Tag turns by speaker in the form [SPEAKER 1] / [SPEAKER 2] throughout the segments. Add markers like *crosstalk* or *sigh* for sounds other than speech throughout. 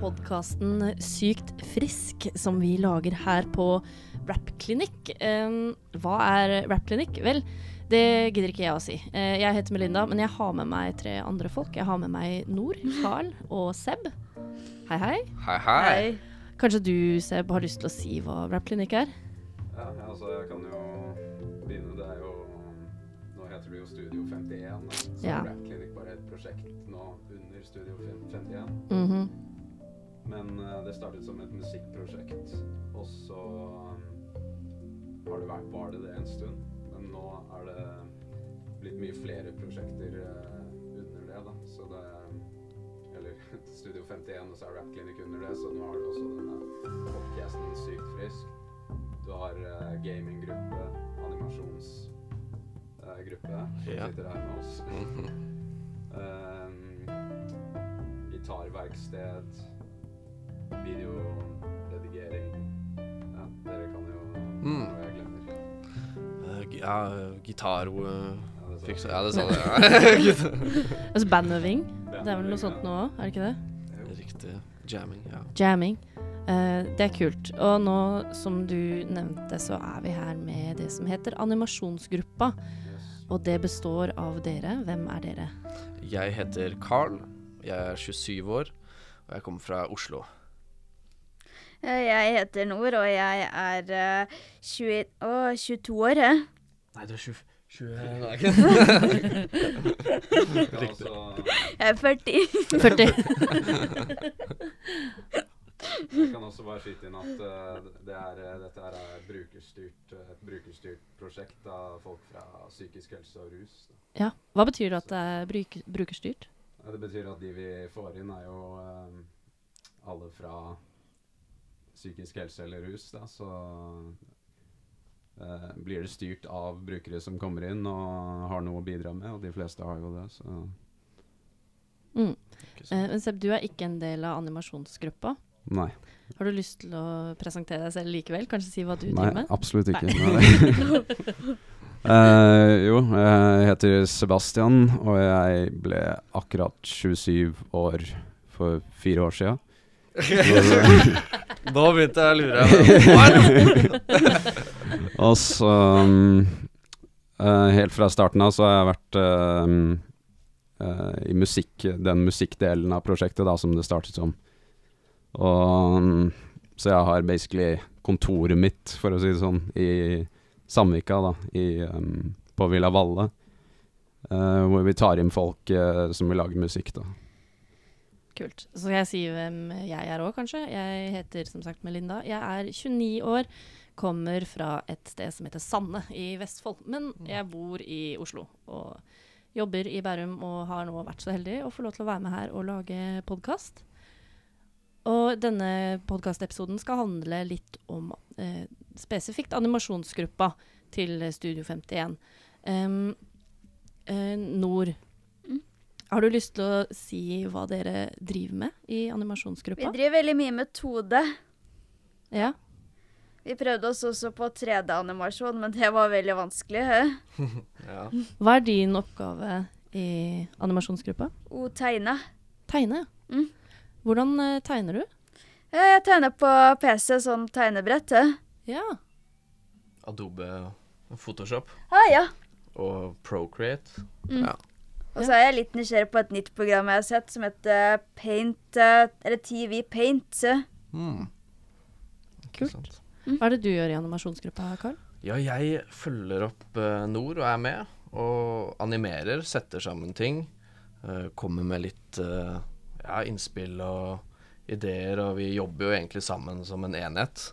[SPEAKER 1] podkasten Sykt frisk som vi lager her på Rappklinikk. Um, hva er Rappklinikk? Vel, det gidder ikke jeg å si. Eh, jeg heter Melinda, men jeg har med meg tre andre folk. Jeg har med meg Nor, Carl og Seb. Hei, hei.
[SPEAKER 2] Hei, hei.
[SPEAKER 1] Kanskje du, Seb, har lyst til å si hva Rappklinikk er?
[SPEAKER 3] Ja, altså jeg kan jo begynne. Det er jo Nå heter det jo Studio 51. da. Så
[SPEAKER 1] Ja.
[SPEAKER 3] Rap Clinic bare er et prosjekt nå under Studio 51.
[SPEAKER 1] Mhm.
[SPEAKER 3] Men eh, det startet som et musikkprosjekt, og så eh, har det vært var det det en stund. Men nå er det blitt mye flere prosjekter eh, under det, da. Så det Eller *laughs* Studio 51, og så er Rap Clinic under det, så nå har du også denne podcasten Sykt frisk. Du har eh, gaminggruppe, animasjonsgruppe, som
[SPEAKER 2] Ja.
[SPEAKER 3] sitter her med oss.
[SPEAKER 2] Eh,
[SPEAKER 3] Ehm, gitarverksted, videoredigering Ja, dere kan jo
[SPEAKER 2] Mm.
[SPEAKER 3] noe jeg glemmer.
[SPEAKER 2] Eh, gi- Ja, eh, gitar eh,
[SPEAKER 3] Ja, det sa
[SPEAKER 2] fikser
[SPEAKER 3] jeg.
[SPEAKER 2] Ja, det sa du. ja.
[SPEAKER 1] Altså bandøving.
[SPEAKER 3] Ja,
[SPEAKER 1] Det er vel noe sånt nå
[SPEAKER 3] ja.
[SPEAKER 1] òg, er det ikke det?
[SPEAKER 3] Jo.
[SPEAKER 2] Riktig. Jamming, ja.
[SPEAKER 1] Jamming. Eh, det er kult. Og nå, som du nevnte, så er vi her med det som heter animasjonsgruppa.
[SPEAKER 3] Yes.
[SPEAKER 1] Og det består av dere. Hvem er dere?
[SPEAKER 2] Jeg heter Carl. Jeg er 27 år, og jeg kommer fra Oslo.
[SPEAKER 4] Eh, Jeg heter Nor, og jeg er eh, 20, å, 22 år. eh.
[SPEAKER 2] Nei, du er 20... 20
[SPEAKER 3] Ja,
[SPEAKER 2] Riktig.
[SPEAKER 3] altså,
[SPEAKER 4] Jeg
[SPEAKER 1] *laughs*
[SPEAKER 4] er 40.
[SPEAKER 1] 40.
[SPEAKER 3] jeg kan også bare skyte inn at eh, det er, eh, dette her er brukerstyrt, eh, et brukerstyrt prosjekt av folk fra psykisk helse og rus. Da.
[SPEAKER 1] Ja. Hva betyr det at det er bruk brukerstyrt?
[SPEAKER 3] Ja, Det betyr at de vi får inn, er jo eh, alle fra psykisk helse eller rus. Da, så eh, blir det styrt av brukere som kommer inn og har noe å bidra med, og de fleste har jo det. Så.
[SPEAKER 1] Mm. Eh, men Seb, du er ikke en del av animasjonsgruppa.
[SPEAKER 3] Nei,
[SPEAKER 1] Har du lyst til å presentere deg selv likevel? Kanskje si hva du driver med?
[SPEAKER 3] absolutt Eh,
[SPEAKER 1] ikke. *laughs*
[SPEAKER 3] jo, jeg heter Sebastian, og jeg ble akkurat 27 år for fire år sia.
[SPEAKER 2] Nå begynte jeg å lure. Hva er det?
[SPEAKER 3] Og så um, eh, Helt fra starten av så har jeg vært eh, um, eh, i musikk, den musikkdelen av prosjektet da, som det startet som. Og, um, så jeg har basically kontoret mitt, for å si det sånn, i Sandvika, da, i, um, på Villa Valle. eh, hvor vi tar inn folk eh, som vil lage musikk, da.
[SPEAKER 1] Kult. Så skal jeg si hvem jeg er òg, kanskje. Jeg heter som sagt Melinda. Jeg er 29 år, kommer fra et sted som heter Sande i Vestfold. Men jeg bor i Oslo og jobber i Bærum og har nå vært så heldig å få lov til å være med her og lage podkast. Og denne podkastepisoden skal handle litt om eh, spesifikt animasjonsgruppa til Studio 51. Um, eh, Nord, har du lyst til å si hva dere driver med i
[SPEAKER 4] Vi
[SPEAKER 1] animasjonsgruppa?
[SPEAKER 4] driver veldig mye med 2D.
[SPEAKER 1] Ja.
[SPEAKER 4] Vi prøvde oss også på 3D-animasjon, men det var veldig vanskelig. eh.
[SPEAKER 2] Ja.
[SPEAKER 1] Hva er din oppgave i animasjonsgruppa?
[SPEAKER 4] Å tegne.
[SPEAKER 1] Tegne.
[SPEAKER 4] Mm.
[SPEAKER 1] Hvordan eh, tegner du?
[SPEAKER 4] Eh, Jeg tegner på PC som tegnebrett. eh.
[SPEAKER 1] Ja.
[SPEAKER 2] Adobe, Photoshop
[SPEAKER 4] Ah, ja.
[SPEAKER 2] og Procreate.
[SPEAKER 4] Og så er jeg litt nysgjerrig på et nytt program jeg har sett, som heter Paint, eh, eller TV Paint. eh.
[SPEAKER 2] Hmm.
[SPEAKER 1] Kult.
[SPEAKER 2] Sant.
[SPEAKER 1] Hva er det du gjør i animasjonsgruppa, Carl?
[SPEAKER 2] Ja, jeg følger opp eh, Nord og er med. Og animerer, setter sammen ting. eh, kommer med litt eh, ja, innspill og ideer, og vi jobber jo egentlig sammen som en enhet.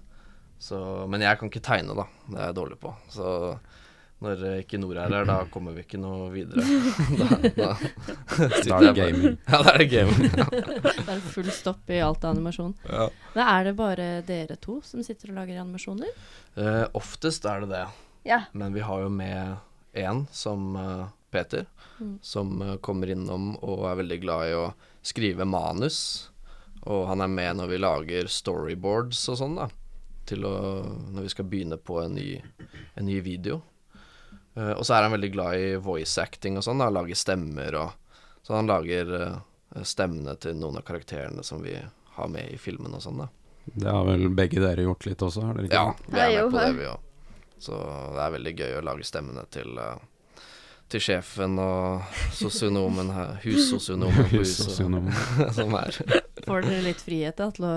[SPEAKER 2] Så, men jeg kan ikke tegne, da. Det er jeg dårlig på. Så når eh, ikke Nord er her, da kommer vi ikke noe videre. da, da,
[SPEAKER 3] Da er det
[SPEAKER 2] sitter jeg bare-
[SPEAKER 3] gaming.
[SPEAKER 2] Ja, da er det gaming.
[SPEAKER 3] *laughs*
[SPEAKER 1] Det er full stopp i alt av animasjon.
[SPEAKER 2] Ja.
[SPEAKER 1] Da er det bare dere to som sitter og lager animasjoner?
[SPEAKER 2] Eh, oftest er det det.
[SPEAKER 4] Ja.
[SPEAKER 2] Men vi har jo med en som eh, Peter,
[SPEAKER 1] Mm.
[SPEAKER 2] som eh, kommer innom og er veldig glad i å skrive manus. Og han er med når vi lager storyboards og sånn, da. Til å, når vi skal begynne på en ny, en ny video. Eh, og så er han veldig glad i voice acting og sånn, da. Lager stemmer og Så han lager eh, stemmene til noen av karakterene som vi ha med i filmen og sånn, da.
[SPEAKER 3] Det har vel begge dere gjort litt også, har dere ikke?
[SPEAKER 2] Ja,
[SPEAKER 3] det?
[SPEAKER 2] vi er
[SPEAKER 4] Ja, jo,
[SPEAKER 2] med på det,
[SPEAKER 4] ja.
[SPEAKER 2] vi òg. Så det er veldig gøy å lage stemmene til eh, til sjefen og sosionomen
[SPEAKER 1] *laughs*
[SPEAKER 2] her,
[SPEAKER 3] *laughs*
[SPEAKER 2] hussosionomen på huset,
[SPEAKER 3] Sosionom.
[SPEAKER 2] *laughs* som er
[SPEAKER 1] Får dere litt frihet da, til å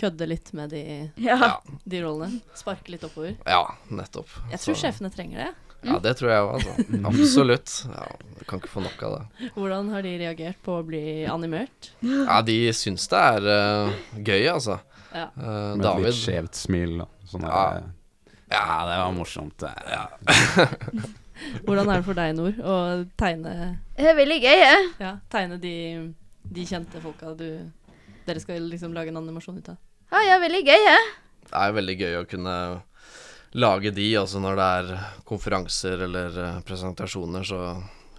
[SPEAKER 1] kødde litt med de,
[SPEAKER 4] Ja.
[SPEAKER 1] de rollene? Sparke litt oppover?
[SPEAKER 2] Ja, nettopp.
[SPEAKER 1] Jeg tror
[SPEAKER 2] Så-
[SPEAKER 1] sjefene trenger det.
[SPEAKER 2] Ja, det tror jeg òg, altså.
[SPEAKER 1] *laughs*
[SPEAKER 2] Absolutt. Ja, du kan ikke få nok av det.
[SPEAKER 1] Hvordan har de reagert på å bli animert?
[SPEAKER 2] Ja, de syns det er eh, gøy, altså.
[SPEAKER 1] Ja.
[SPEAKER 2] Eh,
[SPEAKER 3] Med et
[SPEAKER 2] David
[SPEAKER 3] litt skjevt smil. da. Sånn der,
[SPEAKER 2] Ja.
[SPEAKER 3] eh, ja, det var morsomt. det. Ja.
[SPEAKER 1] Hvordan er det for deg, Nord, å tegne,
[SPEAKER 4] Det er Eh, veldig gøy, jeg.
[SPEAKER 1] ja, tegne de, de kjente folka du dere skal liksom lage en animasjon ut av.
[SPEAKER 4] Ja, Ah, ja, veldig gøy, eh. jeg.
[SPEAKER 2] Det er veldig gøy å kunne lage de, altså når det er konferanser eller eh, presentasjoner så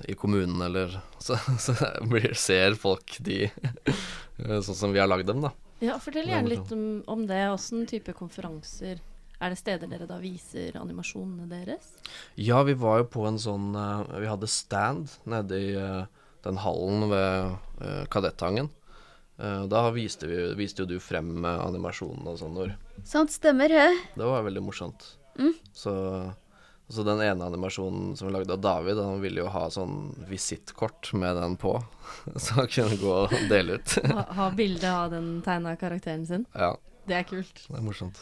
[SPEAKER 2] i kommunen eller *laughs* Så, så blir, ser folk de *laughs* eh, sånn som vi har lagd dem, da.
[SPEAKER 1] Ja, Fortell
[SPEAKER 2] Det er
[SPEAKER 1] gjerne litt om, om det. Åssen type konferanser Er det steder dere da viser animasjonene
[SPEAKER 2] *laughs*
[SPEAKER 1] deres?
[SPEAKER 2] Ja, vi var jo på en sånn eh, Vi hadde stand nede i eh, den hallen ved eh, Kadettangen. Eh, Da viste, vi, viste jo du frem eh, animasjonen og sånn, Nor.
[SPEAKER 4] Sant stemmer, eh. he.
[SPEAKER 2] Det var veldig morsomt. Så, så den ene animasjonen som vi lagde av David, han ville jo ha sånn visittkort med den på, *laughs* så han kunne gå og dele ut. *laughs*
[SPEAKER 1] Ha, ha bilde av den tegna karakteren sin.
[SPEAKER 2] Ja,
[SPEAKER 1] Det er kult.
[SPEAKER 2] det er morsomt.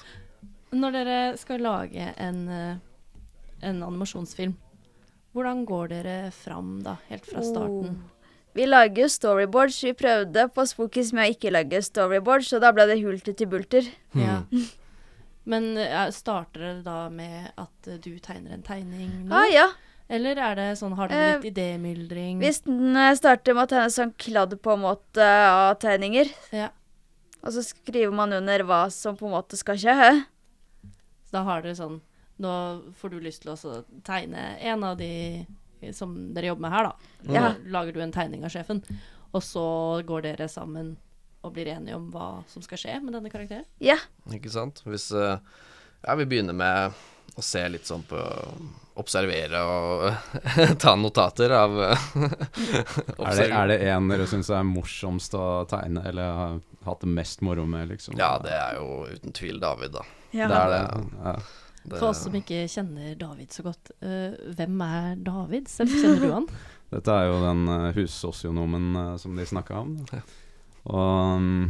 [SPEAKER 1] Når dere skal lage en, eh, en animasjonsfilm, hvordan går dere fram da, helt fra starten?
[SPEAKER 4] Oh. Vi lager jo storyboards. Vi prøvde på Spookies med å ikke lage storyboards, så da ble det hulter til bulter.
[SPEAKER 2] Oh.
[SPEAKER 1] Ja.
[SPEAKER 2] Hmm.
[SPEAKER 1] *laughs* Men eh, starter dere da med at eh, du tegner en tegning nå?
[SPEAKER 4] Ja, Ah, ja.
[SPEAKER 1] Eller er det sånn, har dere litt idémyldring?
[SPEAKER 4] Hvis den eh, starter med å tegne sånn kladd på en måte eh, av tegninger,
[SPEAKER 1] Ja.
[SPEAKER 4] og så skriver man under hva som på en måte skal skje, he.
[SPEAKER 1] Så Da har dere sånn Nå får du lyst til å også tegne en av de som dere jobber med her, da. Nå
[SPEAKER 4] Ja.
[SPEAKER 1] lager du en tegning av sjefen, og så går dere sammen og blir enige om hva som skal skje med denne karakteren.
[SPEAKER 4] Ja.
[SPEAKER 2] Ikke sant? Hvis eh, Ja, vi begynner med å se litt sånn på Observere og *laughs* ta notater av *laughs*
[SPEAKER 3] Er, det, er det en dere syns er morsomst å tegne, eller har hatt det mest moro med, liksom?
[SPEAKER 2] Ja, det er jo uten tvil David, da.
[SPEAKER 4] Ja.
[SPEAKER 3] Det er det. Ja.
[SPEAKER 2] Det,
[SPEAKER 1] For oss som ikke kjenner David så godt, øh, hvem er David? Selv kjenner du han?
[SPEAKER 3] Dette er jo den eh, hussosionomen eh, som de snakka om. da. Og mm,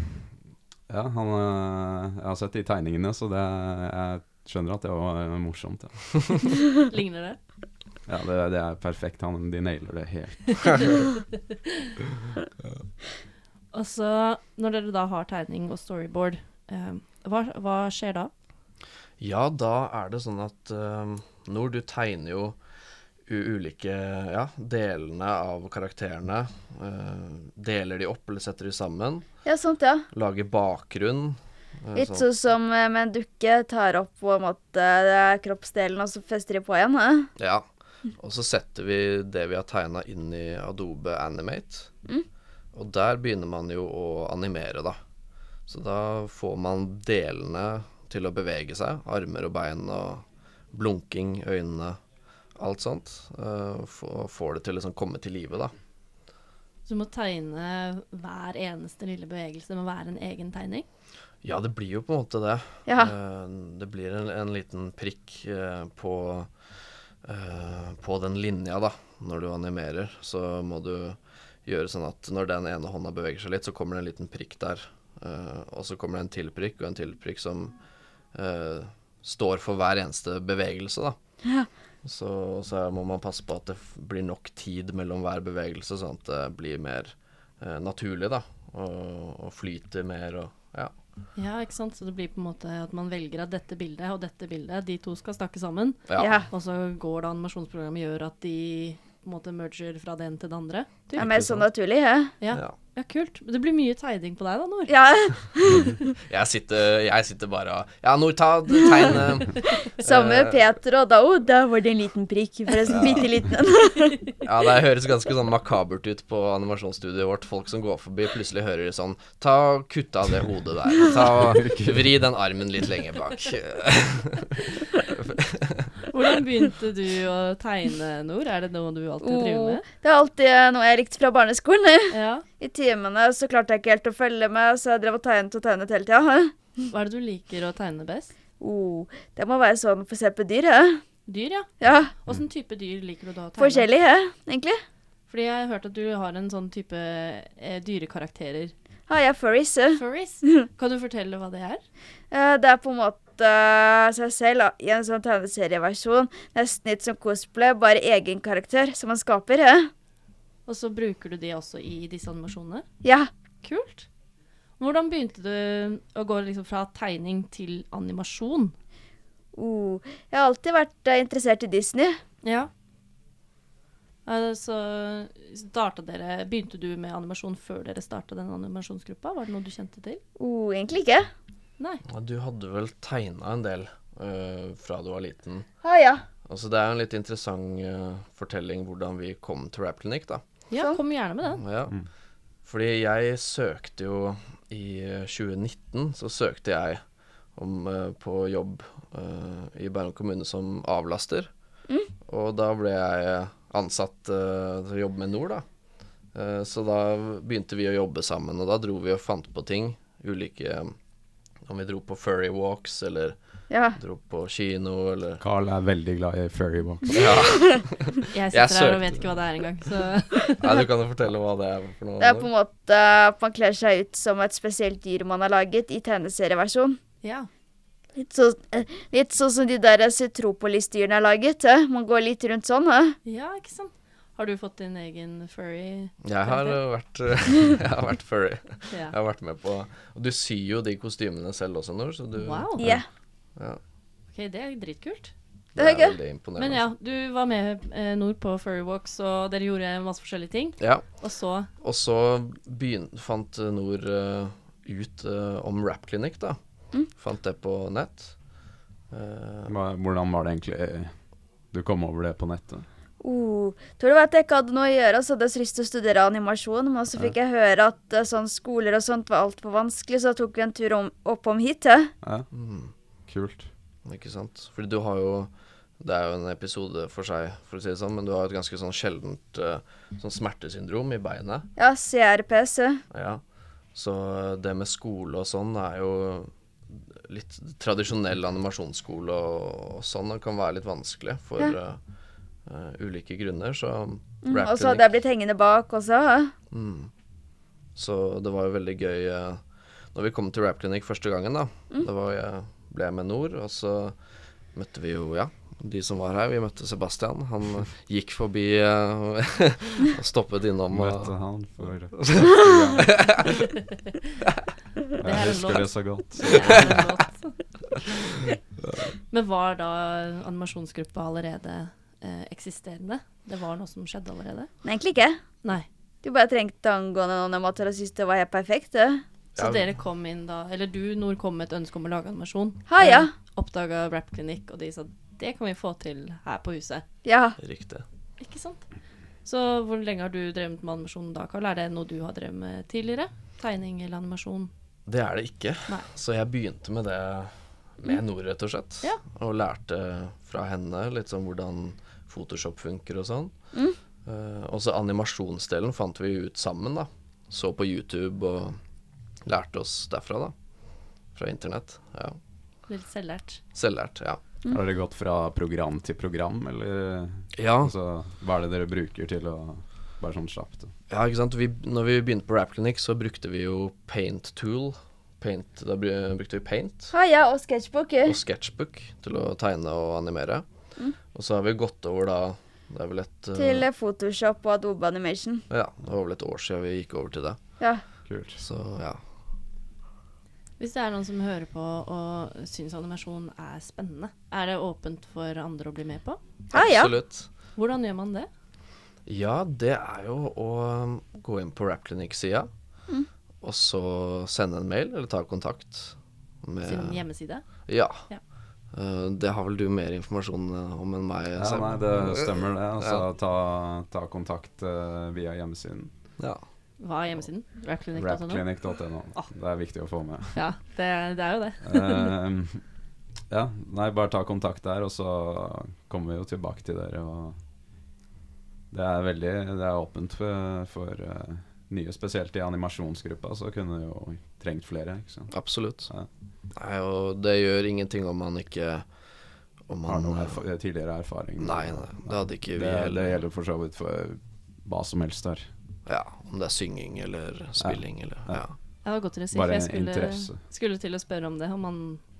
[SPEAKER 3] ja, han, eh, jeg har sett de tegningene, så det, jeg skjønner at det var eh, morsomt. Ja,
[SPEAKER 1] Ligner det?
[SPEAKER 3] ja det, det er perfekt. Han, de nailer det helt.
[SPEAKER 1] Og så, når dere da har tegning og storyboard, eh, hva, hva skjer da?
[SPEAKER 2] Ja, da er det sånn at eh, Nord, du tegner jo u ulike ja, delene av karakterene. eh, deler de opp eller setter de sammen.
[SPEAKER 4] ja, sant, ja.
[SPEAKER 2] Lager bakgrunn. eh,
[SPEAKER 4] Litt
[SPEAKER 2] sånn.
[SPEAKER 4] sånn som eh, med en dukke tar opp på en måte eh, kroppsdelen, og så fester de på igjen. he.
[SPEAKER 2] Ja. Og så setter vi det vi har tegna inn i Adobe Animate. Og der begynner man jo å animere, da. Så da får man delene til å bevege seg. Armer og bein og blunking, øynene, alt sånt. eh, få- får det til å liksom komme til live, da.
[SPEAKER 1] Så du må tegne hver eneste lille bevegelse, det må være en egen tegning.
[SPEAKER 2] Ja, det blir jo på en måte det.
[SPEAKER 4] Ja.
[SPEAKER 2] Eh, Det blir en, en liten prikk eh, på, eh, på den linja, da, når du animerer. Så må du gjøre sånn at når den ene hånda beveger seg litt, så kommer det en liten prikk der. Eh, Og så kommer det en til prikk, og en til prikk som eh, står for hver eneste bevegelse, da. Så, så må man passe på at det f- blir nok tid mellom hver bevegelse, sånn at det blir mer eh, naturlig, da. Og, og flyter mer og ja.
[SPEAKER 1] Ja, ikke sant? Så det blir på en måte at man velger at dette bildet og dette bildet, de to skal snakke sammen.
[SPEAKER 2] Ja.
[SPEAKER 4] Ja.
[SPEAKER 1] Og så går det animasjonsprogrammet gjør at de på en måte merger fra det ene til det andre.
[SPEAKER 4] Det
[SPEAKER 1] typ.
[SPEAKER 4] er mer sånn naturlig, he.
[SPEAKER 1] Ja.
[SPEAKER 2] Ja.
[SPEAKER 1] ja, kult. Men Det blir mye tegning på deg da, Nord.
[SPEAKER 4] Ja, *laughs*
[SPEAKER 2] Jeg sitter, jeg sitter bare og Ja, Nortad, tegn *laughs* eh,
[SPEAKER 4] sammen med Peter og Dao. Der var det en liten prikk, forresten. Bitte liten en.
[SPEAKER 2] Ja, det høres ganske sånn makabert ut på animasjonsstudiet vårt. Folk som går forbi, plutselig hører sånn Ta og Kutt av det hodet der. *laughs* Ta og Vri den armen litt lenger bak.
[SPEAKER 1] Hvordan begynte du å tegne, Nord? Er det noe du alltid har drevet med?
[SPEAKER 4] Oh, Det er alltid eh, noe jeg likte fra barneskolen. *laughs*
[SPEAKER 1] Ja.
[SPEAKER 4] I timene så klarte jeg ikke helt å følge med, så jeg drev og tegnet og tegnet hele tida.
[SPEAKER 1] Hva er det du liker å tegne best?
[SPEAKER 4] *laughs* Oh, det må være sånn for å se på dyr, ja.
[SPEAKER 1] Dyr, ja.
[SPEAKER 4] ja.
[SPEAKER 1] Håssen type dyr liker du da å tegne?
[SPEAKER 4] Forskjellig, ja, egentlig.
[SPEAKER 1] Fordi jeg har hørt at du har en sånn type eh,
[SPEAKER 4] *laughs*
[SPEAKER 1] dyrekarakterer.
[SPEAKER 4] Ja, jeg er furries. ja.
[SPEAKER 1] Furries.
[SPEAKER 4] Mm.
[SPEAKER 1] Kan du fortelle hva det er?
[SPEAKER 4] Eh, Det er på en måte seg selv da, i en sånn tegneserieversjon. Nesten litt som cosplay, bare egen karakter som man skaper. Ja.
[SPEAKER 1] Og så bruker du de også i disse animasjonene?
[SPEAKER 4] ja.
[SPEAKER 1] Kult. Hvordan begynte du å gå liksom fra tegning til animasjon?
[SPEAKER 4] Oh, jeg har alltid vært eh, interessert i Disney.
[SPEAKER 1] Ja. Så starta Altså, dere Begynte du med animasjon før dere starta den animasjonsgruppa? Var det noe du kjente til?
[SPEAKER 4] Oh, egentlig ikke.
[SPEAKER 1] Nei.
[SPEAKER 2] Ja, Du hadde vel tegna en del eh, fra du var liten.
[SPEAKER 4] Ah, ja.
[SPEAKER 2] Altså, det er jo en litt interessant eh, fortelling hvordan vi kom til Rap Clinic, da.
[SPEAKER 1] Ja, kom gjerne med den.
[SPEAKER 2] Ja. Fordi jeg søkte jo I eh, 2019 så søkte jeg om, eh, på jobb eh, i Bærum kommune som avlaster.
[SPEAKER 4] Mm.
[SPEAKER 2] Og da ble jeg ansatt eh, til å jobbe med Nord, da. Eh, så da begynte vi å jobbe sammen, og da dro vi og fant på ting. Ulike eh, Om vi dro på furry walks, eller
[SPEAKER 4] ja.
[SPEAKER 2] dro på kino,
[SPEAKER 4] *laughs*
[SPEAKER 2] eller
[SPEAKER 3] Carl er veldig glad i furry walks.
[SPEAKER 1] Jeg
[SPEAKER 2] Jeg
[SPEAKER 1] sitter her
[SPEAKER 2] søkte.
[SPEAKER 1] og vet ikke hva det er engang, så
[SPEAKER 2] Nei, du kan jo fortelle hva det er for noe.
[SPEAKER 4] Det er på en måte at man kler seg ut som et spesielt dyr man har laget i tegneserieversjon.
[SPEAKER 1] *laughs* ja.
[SPEAKER 4] Litt så- eh, litt sånn som de der Citropolis-dyrene er laget. eh. Man går litt rundt sånn. eh.
[SPEAKER 1] ja, ikke sant. Har du fått din egen furry?
[SPEAKER 2] Jeg har eh, vært, *laughs* jeg har vært furry.
[SPEAKER 1] Ja.
[SPEAKER 2] Jeg har vært med på Og du syr jo de kostymene selv også, Nord, så du
[SPEAKER 1] Wow.
[SPEAKER 4] Ja.
[SPEAKER 2] ja,
[SPEAKER 1] Ok, det er dritkult.
[SPEAKER 2] Det
[SPEAKER 4] Det er
[SPEAKER 2] er
[SPEAKER 4] gøy.
[SPEAKER 2] veldig imponerende.
[SPEAKER 1] Men ja, du var med eh, nord på furry walks, og dere gjorde masse forskjellige ting.
[SPEAKER 2] Ja,
[SPEAKER 1] Og så
[SPEAKER 2] Og så begyn fant Nord eh, ut eh, om Rap Clinic, da.
[SPEAKER 1] Mm.
[SPEAKER 2] Fant det på nett. Eh,
[SPEAKER 3] Hva- Hvordan var det egentlig eh, du kom over det på nettet?
[SPEAKER 4] Oh, tror det var at jeg ikke hadde noe å gjøre, så hadde jeg så lyst til å studere animasjon. Men så fikk jeg høre at eh, sånn skoler og sånt var altfor vanskelig, så da tok vi en tur om, oppom hit. eh. Ja.
[SPEAKER 3] Ja,
[SPEAKER 2] mm,
[SPEAKER 3] kult.
[SPEAKER 2] ikke sant. Fordi du har jo Det er jo en episode for seg, for å si det sånn, men du har et ganske sånn sjeldent eh, sånn smertesyndrom i beinet.
[SPEAKER 4] ja, CRPS. ja.
[SPEAKER 2] Ja. Så det med skole og sånn er jo litt tradisjonell animasjonsskole og, og sånn. Det kan være litt vanskelig for eh, eh, ulike grunner, så
[SPEAKER 4] Mm,
[SPEAKER 2] Rap
[SPEAKER 4] og så
[SPEAKER 2] Clinic-
[SPEAKER 4] hadde jeg blitt hengende bak også. eh. ja.
[SPEAKER 2] Mm. Så det var jo veldig gøy eh, når vi kom til Rap Clinic første gangen, da.
[SPEAKER 4] Mm.
[SPEAKER 2] Da var jeg, ble jeg med Nord, og så møtte vi jo, ja, de som var her. Vi møtte Sebastian. Han
[SPEAKER 4] *laughs*
[SPEAKER 2] eh, gikk forbi eh, *laughs* og stoppet innom. og-
[SPEAKER 3] Møtte han *laughs* for Jeg
[SPEAKER 1] Det er en
[SPEAKER 3] husker
[SPEAKER 1] låt.
[SPEAKER 3] det så godt.
[SPEAKER 4] *laughs*
[SPEAKER 1] Men var da animasjonsgruppa allerede eh, eksisterende? Det var noe som skjedde allerede?
[SPEAKER 4] Men egentlig ikke.
[SPEAKER 1] Nei.
[SPEAKER 4] Du bare trengte angående noen mat og syntes det var helt perfekt. eh. Ja,
[SPEAKER 1] Så
[SPEAKER 2] Ja.
[SPEAKER 1] dere kom inn da Eller du, Nord, kom med et ønske om å lage animasjon.
[SPEAKER 4] Ha, ja.
[SPEAKER 1] Oppdaga Rap Clinic, og de sa det kan vi få til her på huset.
[SPEAKER 4] ja.
[SPEAKER 2] Riktig.
[SPEAKER 1] Ikke sant? Så hvor lenge har du drevet med animasjon da, Karl? Er det noe du har drevet med tidligere? Tegning eller animasjon?
[SPEAKER 2] Det er det ikke.
[SPEAKER 1] Nei. Mm.
[SPEAKER 2] Så jeg begynte med det med Nord, rett og slett.
[SPEAKER 1] Ja.
[SPEAKER 2] Og lærte fra henne litt sånn hvordan Photoshop funker og sånn.
[SPEAKER 1] Mm.
[SPEAKER 2] Eh, og så animasjonsdelen fant vi ut sammen, da. Så på YouTube og lærte oss derfra, da. Fra internett. Ja.
[SPEAKER 1] Litt selvlært.
[SPEAKER 2] Selvlært, ja.
[SPEAKER 3] Har dere gått fra program til program, eller
[SPEAKER 2] Ja,
[SPEAKER 3] altså, hva er det dere bruker til å Bare sånn slapt.
[SPEAKER 2] Ja, ikke sant. Vi, når vi begynte på Rap Clinic, så brukte vi jo Paint Tool. Paint, da bru- brukte vi Paint.
[SPEAKER 4] Ha, ja. Og eh, sketsjbok. ja.
[SPEAKER 2] og sketchbook til å tegne og animere. Og så har vi gått over da Det er vel et eh,
[SPEAKER 4] Mm. Til eh, Photoshop og Adobe Animation.
[SPEAKER 2] Ja, det var vel et år siden vi gikk over til det.
[SPEAKER 4] Ja.
[SPEAKER 3] Kult.
[SPEAKER 2] Så ja.
[SPEAKER 1] Hvis det er noen som hører på og syns animasjon er spennende, er det åpent for andre å bli med på?
[SPEAKER 4] Ha, Ah, ja.
[SPEAKER 2] Absolutt.
[SPEAKER 1] Hvordan gjør man det?
[SPEAKER 2] Ja, det er jo å um, gå inn på Rap Clinic-sida,
[SPEAKER 4] Mm.
[SPEAKER 2] og så sende en mail eller ta kontakt med
[SPEAKER 1] Sin hjemmeside?
[SPEAKER 2] Ja.
[SPEAKER 1] Ja.
[SPEAKER 2] Eh, det har vel du mer informasjon eh, om enn meg?
[SPEAKER 3] Ja,
[SPEAKER 2] Sam?
[SPEAKER 3] nei, det stemmer det. Altså, ta, ta kontakt eh, via hjemmesiden.
[SPEAKER 2] Ja.
[SPEAKER 1] Hva er hjemmesiden? Rapclinic.no?
[SPEAKER 3] Rapclinic.no. Det er viktig å få med.
[SPEAKER 1] Ja, det, det er jo det.
[SPEAKER 3] Ehm, Ja, nei, bare ta kontakt der, og så kommer vi jo tilbake til dere. Og det er veldig Det er åpent for, for eh, nye, spesielt i animasjonsgruppa, så kunne vi jo trengt flere. ikke sant?
[SPEAKER 2] Absolutt.
[SPEAKER 3] Ja.
[SPEAKER 2] Nei, og det gjør ingenting om man ikke Om
[SPEAKER 3] Har
[SPEAKER 2] man
[SPEAKER 3] noen erfa tidligere erfaring?
[SPEAKER 2] Nei, nei, det hadde ikke vi
[SPEAKER 3] det, det
[SPEAKER 2] heller.
[SPEAKER 3] gjelder for så vidt for hva som helst her.
[SPEAKER 2] Ja, om det er synging eller spilling eller
[SPEAKER 3] Ja.
[SPEAKER 2] Ja.
[SPEAKER 1] Ja, det var godt dere sier,
[SPEAKER 3] Bare
[SPEAKER 1] for jeg skulle,
[SPEAKER 3] interesse.
[SPEAKER 1] skulle til å spørre om det, om man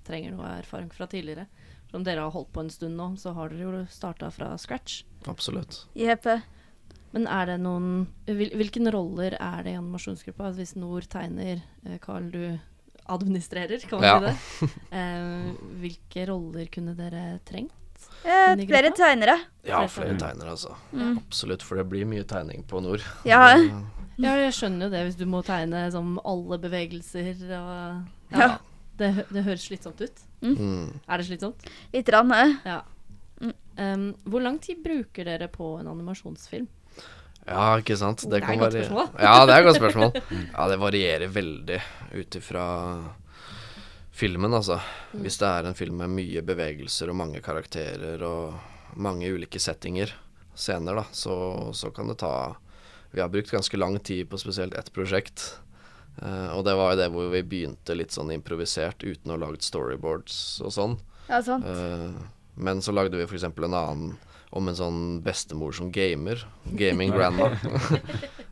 [SPEAKER 1] trenger noe erfaring fra tidligere. For om dere har holdt på en stund nå, så har dere jo starta fra scratch.
[SPEAKER 2] Absolutt.
[SPEAKER 4] Jeppe.
[SPEAKER 1] Men er det noen hvil, Hvilken roller er det i animasjonsgruppa? Hvis Nor tegner, eh, Carl du administrerer, kan man
[SPEAKER 2] Ja.
[SPEAKER 1] si det. Eh, hvilke roller kunne dere trengt?
[SPEAKER 4] Eh,
[SPEAKER 1] Inni
[SPEAKER 4] flere
[SPEAKER 1] gruppa?
[SPEAKER 4] tegnere.
[SPEAKER 2] Ja,
[SPEAKER 1] Flere
[SPEAKER 2] flere tegnere, altså. Absolutt, for det blir mye tegning på nord.
[SPEAKER 4] Ja.
[SPEAKER 1] Ja, jeg skjønner jo det hvis du må tegne som alle bevegelser og
[SPEAKER 4] *laughs* Ja.
[SPEAKER 1] det, hø- det høres slitsomt ut.
[SPEAKER 2] *laughs* Mm.
[SPEAKER 1] Er det slitsomt?
[SPEAKER 4] Litt rann, eh.
[SPEAKER 1] Ja. Um, hvor lang tid bruker dere på en animasjonsfilm?
[SPEAKER 2] Ja, ikke sant.
[SPEAKER 1] Det er et godt
[SPEAKER 2] varie-
[SPEAKER 1] spørsmål.
[SPEAKER 2] *laughs*
[SPEAKER 1] Mm.
[SPEAKER 2] Ja, det er et godt
[SPEAKER 1] *laughs*
[SPEAKER 2] spørsmål. Ja, det varierer veldig ut ifra filmen, altså.
[SPEAKER 1] Mm.
[SPEAKER 2] Hvis det er en film med mye bevegelser og mange karakterer og mange ulike settinger, scener, da, så, så kan det ta Vi har brukt ganske lang tid på spesielt ett prosjekt. Eh, og det var jo det hvor vi begynte litt sånn improvisert uten å ha lagd storyboards og sånn.
[SPEAKER 4] Ja, sant.
[SPEAKER 2] Eh, Men så lagde vi f.eks. en annen om en sånn bestemor som gamer. Gaming grandma.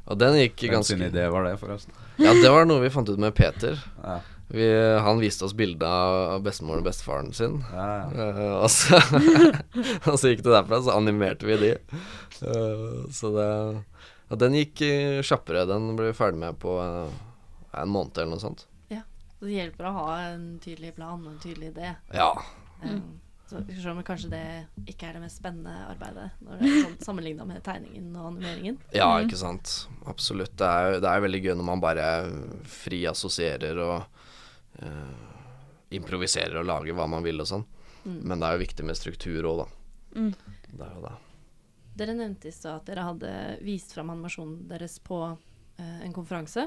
[SPEAKER 2] og den gikk
[SPEAKER 3] Hvem sin
[SPEAKER 2] ganske
[SPEAKER 3] idé var det, forresten?
[SPEAKER 2] Ja, det var noe vi fant ut med Peter.
[SPEAKER 3] Ja.
[SPEAKER 2] Vi, han viste oss bilde av bestemoren og bestefaren sin.
[SPEAKER 3] Ja, ja.
[SPEAKER 2] Eh, og, så, *laughs* og så gikk det derfra, så animerte vi de. Eh, så det Og den gikk eh, kjappere. Den ble vi ferdig med på eh, en måned eller noe sånt.
[SPEAKER 1] Det hjelper å ha en tydelig plan og en tydelig idé.
[SPEAKER 2] Ja.
[SPEAKER 1] Um, så vi skal se om kanskje det ikke er det mest spennende arbeidet når det er sånn, sammenligna med tegningen og animeringen.
[SPEAKER 2] Ja,
[SPEAKER 4] Mm.
[SPEAKER 2] ikke sant. Absolutt. Det er, det er veldig gøy når man bare fri assosierer og eh, improviserer og lager hva man vil og sånn.
[SPEAKER 4] Mm.
[SPEAKER 2] Men det er jo viktig med struktur òg, da. Det er jo det.
[SPEAKER 1] Dere nevnte i stad at dere hadde vist fram animasjonen deres på eh, en konferanse.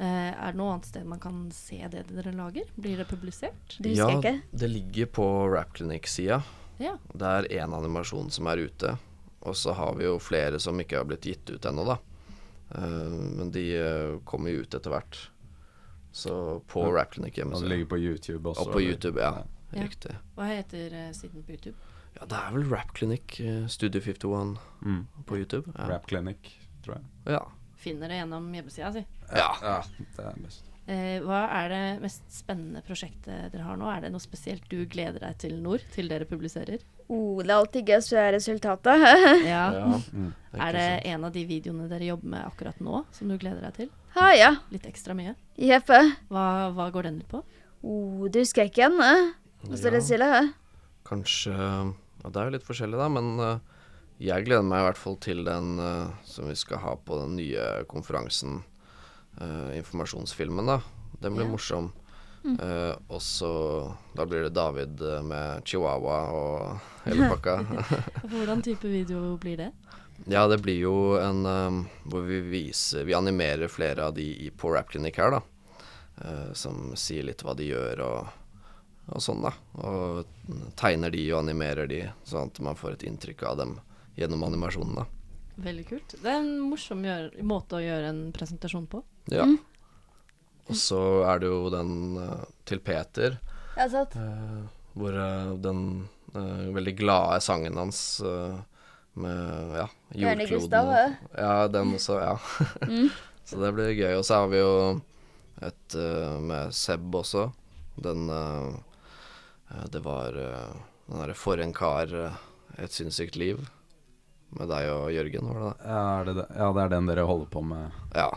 [SPEAKER 1] Eh, er det noe annet sted man kan se det dere lager? Blir det publisert?
[SPEAKER 4] Det husker jeg ikke.
[SPEAKER 2] det ligger på Rapclinic-sida.
[SPEAKER 1] Ja.
[SPEAKER 2] Det er én animasjon som er ute. Og så har vi jo flere som ikke har blitt gitt ut ennå, da. Eh, men de eh, kommer jo ut etter hvert. Så
[SPEAKER 3] Ja.
[SPEAKER 2] på
[SPEAKER 3] Og det
[SPEAKER 2] Rapclinic-hjemmesida.
[SPEAKER 3] ligger på YouTube også.
[SPEAKER 2] Og på
[SPEAKER 3] eller?
[SPEAKER 2] YouTube, ja.
[SPEAKER 1] Ja.
[SPEAKER 2] Riktig.
[SPEAKER 1] Hva heter eh, siden på YouTube?
[SPEAKER 2] Ja, det er vel Rapklinikk, eh, Studio 51
[SPEAKER 3] Mm.
[SPEAKER 2] på YouTube. Ja.
[SPEAKER 3] Rap Clinic, tror jeg.
[SPEAKER 2] Ja.
[SPEAKER 1] Finner det gjennom hjemmesida si.
[SPEAKER 2] ja.
[SPEAKER 3] Ja, det er best.
[SPEAKER 1] Eh, hva er det mest spennende prosjektet dere har nå? Er det noe spesielt du gleder deg til, Nord, til dere publiserer?
[SPEAKER 4] Oh, det er alltid gøy å se resultatet.
[SPEAKER 1] *laughs*
[SPEAKER 4] *laughs*
[SPEAKER 1] Ja.
[SPEAKER 3] Mm.
[SPEAKER 1] Er det en av de videoene dere jobber med akkurat nå, som du gleder deg til?
[SPEAKER 4] ha, ja.
[SPEAKER 1] Litt ekstra mye.
[SPEAKER 4] Jeppe.
[SPEAKER 1] Hva, hva går den ut på?
[SPEAKER 4] Oh, det husker jeg ikke igjen. eh. Hva står det
[SPEAKER 2] Ja.
[SPEAKER 4] stille? eh?
[SPEAKER 2] Kanskje ja, Det er jo litt forskjellig, da, men eh, jeg gleder meg i hvert fall til den eh, som vi skal ha på den nye konferansen. eh, informasjonsfilmen, da. Den
[SPEAKER 1] Ja.
[SPEAKER 2] blir
[SPEAKER 1] Mm.
[SPEAKER 2] morsom. Eh, og så Da blir det David eh, med chihuahua og
[SPEAKER 1] *laughs*
[SPEAKER 2] hele pakka.
[SPEAKER 1] Hvordan type video blir det?
[SPEAKER 2] Ja, det blir jo en ehm, hvor vi viser Vi animerer flere av de i, på Rap Clinic her, da. eh, som sier litt hva de gjør og, og sånn, da. Og tegner de og animerer de, sånn at man får et inntrykk av dem gjennom animasjonen, da.
[SPEAKER 1] Veldig kult. Det er en morsom gjør måte å gjøre en presentasjon på.
[SPEAKER 2] Ja. Og så er det jo den eh, til Peter,
[SPEAKER 4] Ja, sant.
[SPEAKER 2] eh, hvor eh, den eh, veldig glade sangen hans eh, med ja,
[SPEAKER 4] Bjarne
[SPEAKER 2] jordkloden
[SPEAKER 4] Gustav, eh? Mm.
[SPEAKER 2] og- Ja, den også, ja. *laughs* så det blir gøy. Og så har vi jo et eh, med Seb også. Den eh, eh, Det var eh, den derre For en kar, eh, et sinnssykt liv. Med deg og Jørgen, var det det?
[SPEAKER 3] Ja, er det, det- ja, det er den dere holder på med.
[SPEAKER 2] Ja,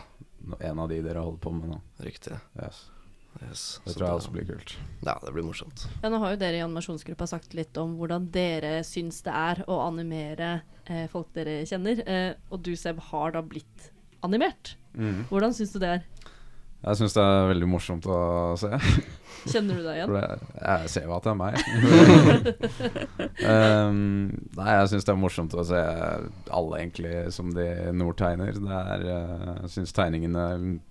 [SPEAKER 3] nå- En av de dere holder på med nå.
[SPEAKER 2] riktig.
[SPEAKER 3] Yes.
[SPEAKER 2] Yes.
[SPEAKER 3] Det
[SPEAKER 2] Så
[SPEAKER 3] tror jeg
[SPEAKER 2] da-
[SPEAKER 3] også blir kult.
[SPEAKER 2] Ja, det blir morsomt.
[SPEAKER 1] Ja, nå har jo dere i animasjonsgruppa sagt litt om hvordan dere syns det er å animere eh, folk dere kjenner. Eh, og du, Seb, har da blitt animert.
[SPEAKER 2] Mhm.
[SPEAKER 1] Hvordan syns du det er?
[SPEAKER 3] Jeg syns det er veldig morsomt å se.
[SPEAKER 1] Kjenner du deg
[SPEAKER 3] For
[SPEAKER 1] igjen?
[SPEAKER 3] det, jeg ser jo at det er meg.
[SPEAKER 1] *laughs*
[SPEAKER 3] um, nei, jeg syns det er morsomt å se alle egentlig som de Nord tegner. Det er, eh, Jeg syns tegningene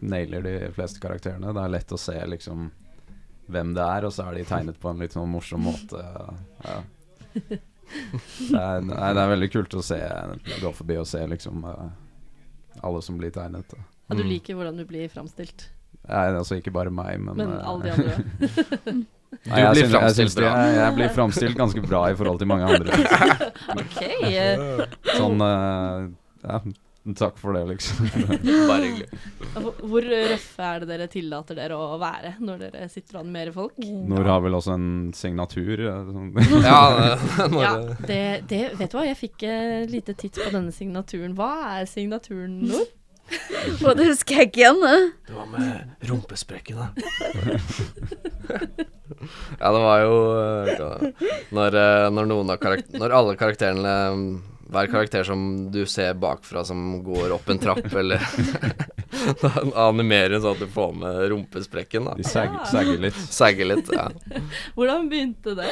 [SPEAKER 3] nailer de fleste karakterene. Det er lett å se liksom hvem det er, og så er de tegnet på en litt sånn morsom måte. Ja. Det, er, nei, det er veldig kult å se gå forbi og se liksom eh, alle som blir tegnet. da.
[SPEAKER 1] Ja, du
[SPEAKER 2] Mm.
[SPEAKER 1] liker hvordan du blir framstilt,
[SPEAKER 3] Nei, altså ikke bare meg, men,
[SPEAKER 1] men
[SPEAKER 3] eh,
[SPEAKER 1] alle de andre
[SPEAKER 3] *laughs*
[SPEAKER 1] òg.
[SPEAKER 3] nei, jeg
[SPEAKER 2] blir
[SPEAKER 3] synes- jeg
[SPEAKER 2] framstilt
[SPEAKER 3] synes de-
[SPEAKER 2] bra.
[SPEAKER 3] Jeg, jeg blir framstilt ganske bra i forhold til mange andre.
[SPEAKER 1] OK. eh,
[SPEAKER 2] *laughs*
[SPEAKER 3] Sånn eh, ja, Takk for det, liksom.
[SPEAKER 2] Bare hyggelig.
[SPEAKER 1] hvor- Hvor røffe er det dere tillater dere å være når dere sitter og animerer folk?
[SPEAKER 3] Nord har vel også en signatur. eh, Sånn.
[SPEAKER 2] Ja, *laughs* det, når
[SPEAKER 1] Ja,
[SPEAKER 2] det-
[SPEAKER 1] det, det Vet du hva, jeg fikk et lite titt på denne signaturen. Hva er signaturen, Nord?
[SPEAKER 2] *laughs*
[SPEAKER 4] Og det husker jeg ikke igjen. eh.
[SPEAKER 2] det var med rumpesprekkene. *laughs* ja, det var jo eh, når, eh, når, noen av karak når alle karakterene mm, Hver karakter som du ser bakfra som går opp en trapp, eller *laughs* Da animerer hun sånn at du får med rumpesprekken, da.
[SPEAKER 3] De sag, sagger litt.
[SPEAKER 2] Sagge litt. Ja.
[SPEAKER 1] Hvordan begynte det?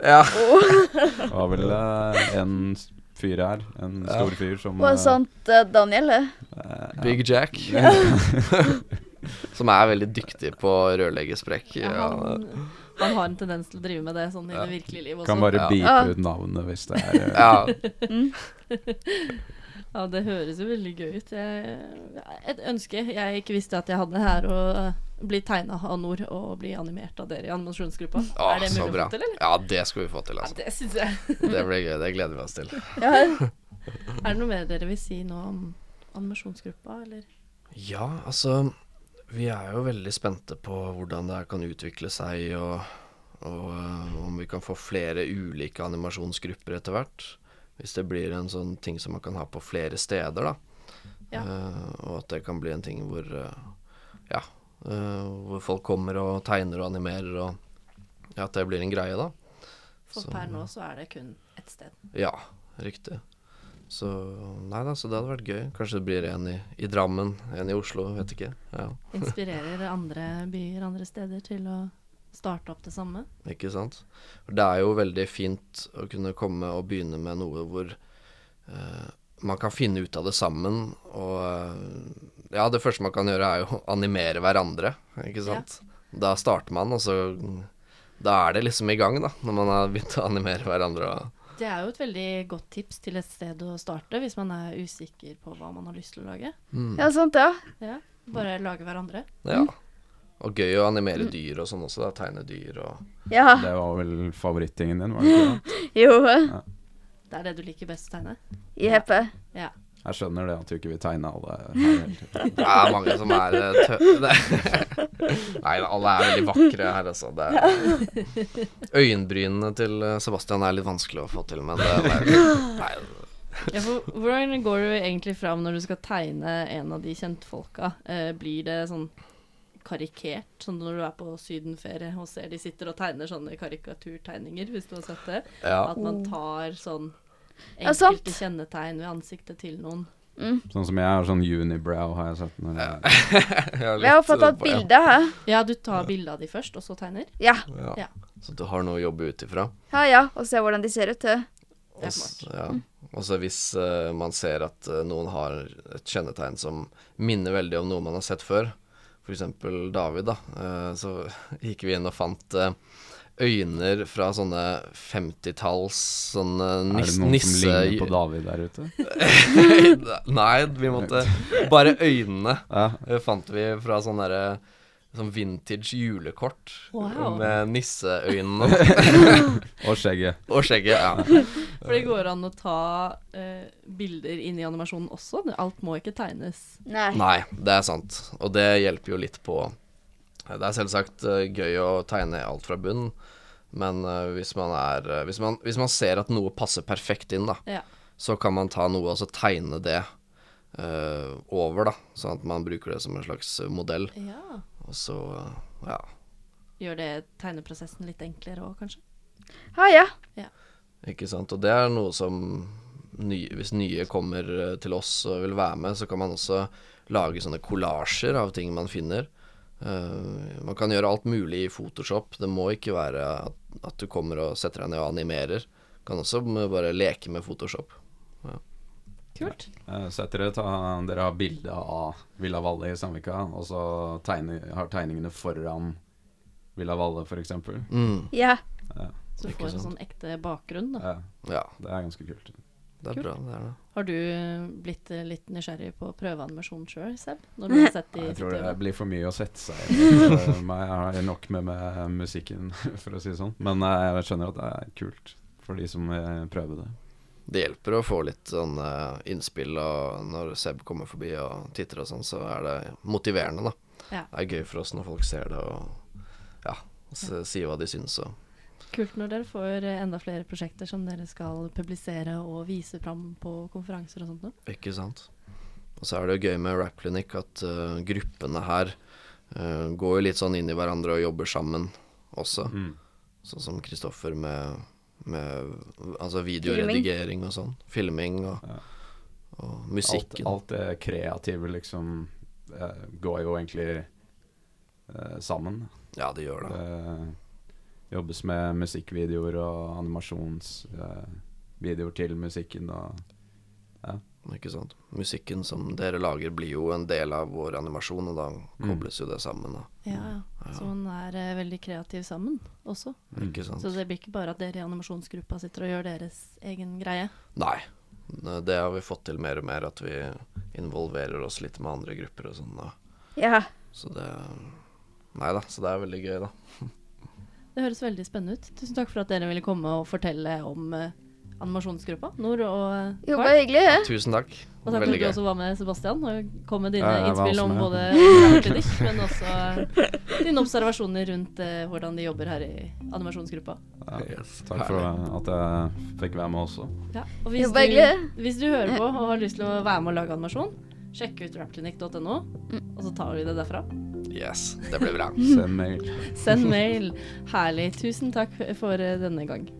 [SPEAKER 2] ja.
[SPEAKER 3] Det var vel eh, en s- fyr her, en
[SPEAKER 2] Ja.
[SPEAKER 3] stor fyr som
[SPEAKER 4] Var
[SPEAKER 3] eh,
[SPEAKER 4] det
[SPEAKER 2] sånn-
[SPEAKER 4] sant, eh, Daniel? eh?
[SPEAKER 3] eh, ja.
[SPEAKER 2] Big Jack. *laughs* som er veldig dyktig på rørleggersprekk.
[SPEAKER 1] Ja,
[SPEAKER 2] Ja,
[SPEAKER 1] han, han har en tendens til å drive med det sånn i
[SPEAKER 2] Ja.
[SPEAKER 1] det virkelige livet
[SPEAKER 3] Kan
[SPEAKER 1] også.
[SPEAKER 3] bare
[SPEAKER 2] Ja.
[SPEAKER 3] beepe ut navnet hvis det er eh,
[SPEAKER 2] ja.
[SPEAKER 1] Ja, det høres jo veldig gøy ut. Jeg, et ønske jeg ikke visste at jeg hadde her, å bli tegna av Nord og bli animert av dere i animasjonsgruppa.
[SPEAKER 2] Å,
[SPEAKER 1] er det
[SPEAKER 2] så
[SPEAKER 1] mulig å
[SPEAKER 2] bra.
[SPEAKER 1] få til, eller?
[SPEAKER 2] Ja, det skal vi få til,
[SPEAKER 1] Ja,
[SPEAKER 2] altså.
[SPEAKER 1] det syns jeg.
[SPEAKER 2] Det blir gøy. Det gleder vi oss til.
[SPEAKER 4] Ja.
[SPEAKER 1] Er det noe mer dere vil si nå om animasjonsgruppa, eller?
[SPEAKER 2] Ja, altså Vi er jo veldig spente på hvordan det her kan utvikle seg, og, og eh, om vi kan få flere ulike animasjonsgrupper etter hvert. Hvis det blir en sånn ting som man kan ha på flere steder, da.
[SPEAKER 1] Ja.
[SPEAKER 2] Eh, og at det kan bli en ting hvor eh, Ja, eh, hvor folk kommer og tegner og animerer, og ja, at det blir en greie, da.
[SPEAKER 1] For
[SPEAKER 2] Så-
[SPEAKER 1] per nå så er det kun ett sted.
[SPEAKER 2] Ja, riktig. Så nei da, så det hadde vært gøy. Kanskje det blir en i, i Drammen, en i Oslo, vet ikke. Ja,
[SPEAKER 1] Inspirerer andre byer, andre steder til å starte opp det samme?
[SPEAKER 2] ikke sant? For Det er jo veldig fint å kunne komme og begynne med noe hvor eh, man kan finne ut av det sammen. Og eh, ja, det første man kan gjøre er jo å animere hverandre, ikke sant. Da starter man, og så da er det liksom i gang, da, når man har begynt å animere hverandre. og
[SPEAKER 1] Det er jo et veldig godt tips til et sted å starte hvis man er usikker på hva man har lyst til å lage.
[SPEAKER 4] ja, sant, ja.
[SPEAKER 1] Ja, bare lage hverandre.
[SPEAKER 2] Ja. Og gøy å animere dyr og sånn også, da. Tegne dyr og
[SPEAKER 4] Ja,
[SPEAKER 3] Det var vel favorittingen din, var det ikke det?
[SPEAKER 4] jo. eh.
[SPEAKER 1] Det er det du liker best å tegne?
[SPEAKER 4] Jepp. eh.
[SPEAKER 1] Ja.
[SPEAKER 3] Jeg skjønner det at du ikke vil tegne alle her. helt.
[SPEAKER 2] Det er mange som er eh, tø... *laughs* det- Nei, alle er veldig vakre her, altså. Det er... Øyenbrynene til eh, Sebastian er litt vanskelig å få til, men det er... Nei,
[SPEAKER 4] *laughs*
[SPEAKER 1] Ja, for, hvordan går du egentlig fram når du skal tegne en av de kjentfolka? Eh, blir det sånn karikert, sånn når du er på sydenferie og ser de sitter og tegner sånne karikaturtegninger, hvis du har sett det?
[SPEAKER 2] ja.
[SPEAKER 1] At man tar sånn
[SPEAKER 4] Ja, sant.
[SPEAKER 1] enkelte kjennetegn ved ansiktet til noen.
[SPEAKER 3] Sånn som jeg har sånn unibrow, har jeg sett. Når jeg,
[SPEAKER 2] har
[SPEAKER 4] Vi har
[SPEAKER 2] litt,
[SPEAKER 4] fått
[SPEAKER 2] eh,
[SPEAKER 4] tatt
[SPEAKER 2] på- ja.
[SPEAKER 4] bilde her.
[SPEAKER 1] Ja, du tar bilde av de først, og så tegner?
[SPEAKER 4] Ja.
[SPEAKER 1] Ja.
[SPEAKER 2] Ja. Så du har noe å jobbe ut ifra.
[SPEAKER 4] ja, ja. Og se hvordan de ser ut. eh.
[SPEAKER 1] Det er Mm.
[SPEAKER 2] Og s- ja. Og så hvis eh, man ser at eh, noen har et kjennetegn som minner veldig om noe man har sett før, f.eks. David, da, eh, så gikk vi inn og fant eh, øyne fra sånne 50-talls sånne
[SPEAKER 3] er det noen
[SPEAKER 2] nis
[SPEAKER 3] som
[SPEAKER 2] nisse...
[SPEAKER 3] ligner
[SPEAKER 2] *laughs*
[SPEAKER 3] på David der ute?
[SPEAKER 2] Nei, vi måtte
[SPEAKER 3] *laughs*
[SPEAKER 2] Bare øynene
[SPEAKER 3] Ja.
[SPEAKER 2] eh, fant vi fra sånn derre Sånn vintage julekort
[SPEAKER 1] Wow.
[SPEAKER 2] med nisseøynene
[SPEAKER 3] *laughs* Og skjegget.
[SPEAKER 2] og skjegget. Ja.
[SPEAKER 1] For det går an å ta eh, bilder inn i animasjonen også. Det- Alt må ikke tegnes.
[SPEAKER 4] Nei.
[SPEAKER 2] Nei, det er sant. Og det hjelper jo litt på Det er selvsagt eh, gøy å tegne alt fra bunnen, men eh, hvis man er eh, hvis, man, hvis man ser at noe passer perfekt inn, da,
[SPEAKER 1] Ja.
[SPEAKER 2] så kan man ta noe og så tegne det eh, over, da. Sånn at man bruker det som en slags modell.
[SPEAKER 1] ja.
[SPEAKER 2] Og så eh, ja,
[SPEAKER 1] Gjør det tegneprosessen litt enklere òg, kanskje?
[SPEAKER 4] Ja, ja.
[SPEAKER 2] ikke sant. Og det er noe som ny, Hvis nye kommer eh, til oss og vil være med, så kan man også lage sånne kollasjer av ting man finner. Eh, man kan gjøre alt mulig i Photoshop. Det må ikke være at, at du kommer og setter deg ned og animerer. Kan også eh, bare leke med Photoshop.
[SPEAKER 1] Kult.
[SPEAKER 3] Eh, Så etter det ta, dere har bilde av Villa Valle i Sandvika, og så tegne, har tegningene foran Villa Valle, f.eks.
[SPEAKER 2] Mm.
[SPEAKER 4] Ja.
[SPEAKER 1] Så du
[SPEAKER 2] Ikke
[SPEAKER 1] får en
[SPEAKER 2] sant.
[SPEAKER 1] sånn ekte bakgrunn, da.
[SPEAKER 3] Ja,
[SPEAKER 2] Ja,
[SPEAKER 3] det er ganske kult.
[SPEAKER 2] det er
[SPEAKER 1] Kult.
[SPEAKER 2] bra. Det er det.
[SPEAKER 1] Har du blitt eh, litt nysgjerrig på prøveanimasjon sjøl, Seb? Når du har sett de
[SPEAKER 3] *laughs* Jeg tror det
[SPEAKER 1] utøve?
[SPEAKER 3] blir for mye å sette seg *laughs* i. for meg. Jeg har nok med, med musikken, *laughs* for å si det sånn. Men eh, jeg skjønner at det er kult for de som eh, prøver det.
[SPEAKER 2] Det hjelper å få litt sånn eh, innspill, og når Seb kommer forbi og titter og sånn, så er det motiverende, da.
[SPEAKER 1] Ja.
[SPEAKER 2] Det er gøy for oss når folk ser det og ja, s- sier hva de syns og
[SPEAKER 1] Kult når dere får eh, enda flere prosjekter som dere skal publisere og vise fram på konferanser og sånt noe.
[SPEAKER 2] Ikke sant. Og så er det jo gøy med Rap Clinic at eh, gruppene her eh, går jo litt sånn inn i hverandre og jobber sammen også.
[SPEAKER 3] Mm.
[SPEAKER 2] Sånn som Kristoffer med, med altså videoredigering og sånn. Filming og,
[SPEAKER 3] Ja.
[SPEAKER 2] og
[SPEAKER 3] Alt,
[SPEAKER 2] musikken.
[SPEAKER 3] alt det kreative liksom eh, går jo egentlig eh, sammen.
[SPEAKER 2] Ja, det gjør det.
[SPEAKER 3] Det jobbes med musikkvideoer og animasjonsvideoer videoer til musikken. Og
[SPEAKER 2] Ikke sant. Musikken som dere lager, blir jo en del av vår animasjon, og da kobles jo det sammen. Da.
[SPEAKER 1] Ja, ja. Så man er eh, veldig kreativ sammen også.
[SPEAKER 2] Ikke sant.
[SPEAKER 1] Så det blir ikke bare at dere i animasjonsgruppa sitter og gjør deres egen greie.
[SPEAKER 2] Nei. Det har vi fått til mer og mer, at vi involverer oss litt med andre grupper og sånn. da.
[SPEAKER 4] ja.
[SPEAKER 2] Så det Nei da, så det er veldig gøy, da.
[SPEAKER 1] Det høres veldig spennende ut. Tusen takk for at dere ville komme og fortelle om eh, animasjonsgruppa, Nor og eh,
[SPEAKER 4] Jo,
[SPEAKER 1] Carl.
[SPEAKER 4] bare hyggelig, det.
[SPEAKER 2] Tusen takk.
[SPEAKER 1] Og takk for
[SPEAKER 2] veldig
[SPEAKER 1] at du
[SPEAKER 2] gøy.
[SPEAKER 1] også var med, Sebastian, og kom med dine
[SPEAKER 3] Ja, jeg var
[SPEAKER 1] innspill
[SPEAKER 3] også
[SPEAKER 1] om
[SPEAKER 3] med.
[SPEAKER 1] både
[SPEAKER 3] *laughs*
[SPEAKER 1] Klinikk, men også dine observasjoner rundt eh, hvordan de jobber her i animasjonsgruppa.
[SPEAKER 3] ja.
[SPEAKER 2] Yes,
[SPEAKER 3] Takk for at jeg fikk være med også.
[SPEAKER 1] Ja, og
[SPEAKER 4] Jo,
[SPEAKER 1] hvis
[SPEAKER 4] bare
[SPEAKER 1] du,
[SPEAKER 4] hyggelig.
[SPEAKER 1] hvis du hører på og har lyst til å være med og lage animasjon, sjekk ut rapclinic.no,
[SPEAKER 4] Mm.
[SPEAKER 1] og så tar vi det derfra.
[SPEAKER 2] Yes, det blir bra.
[SPEAKER 3] Send mail.
[SPEAKER 1] Send mail. Herlig. Tusen takk for eh, denne gang.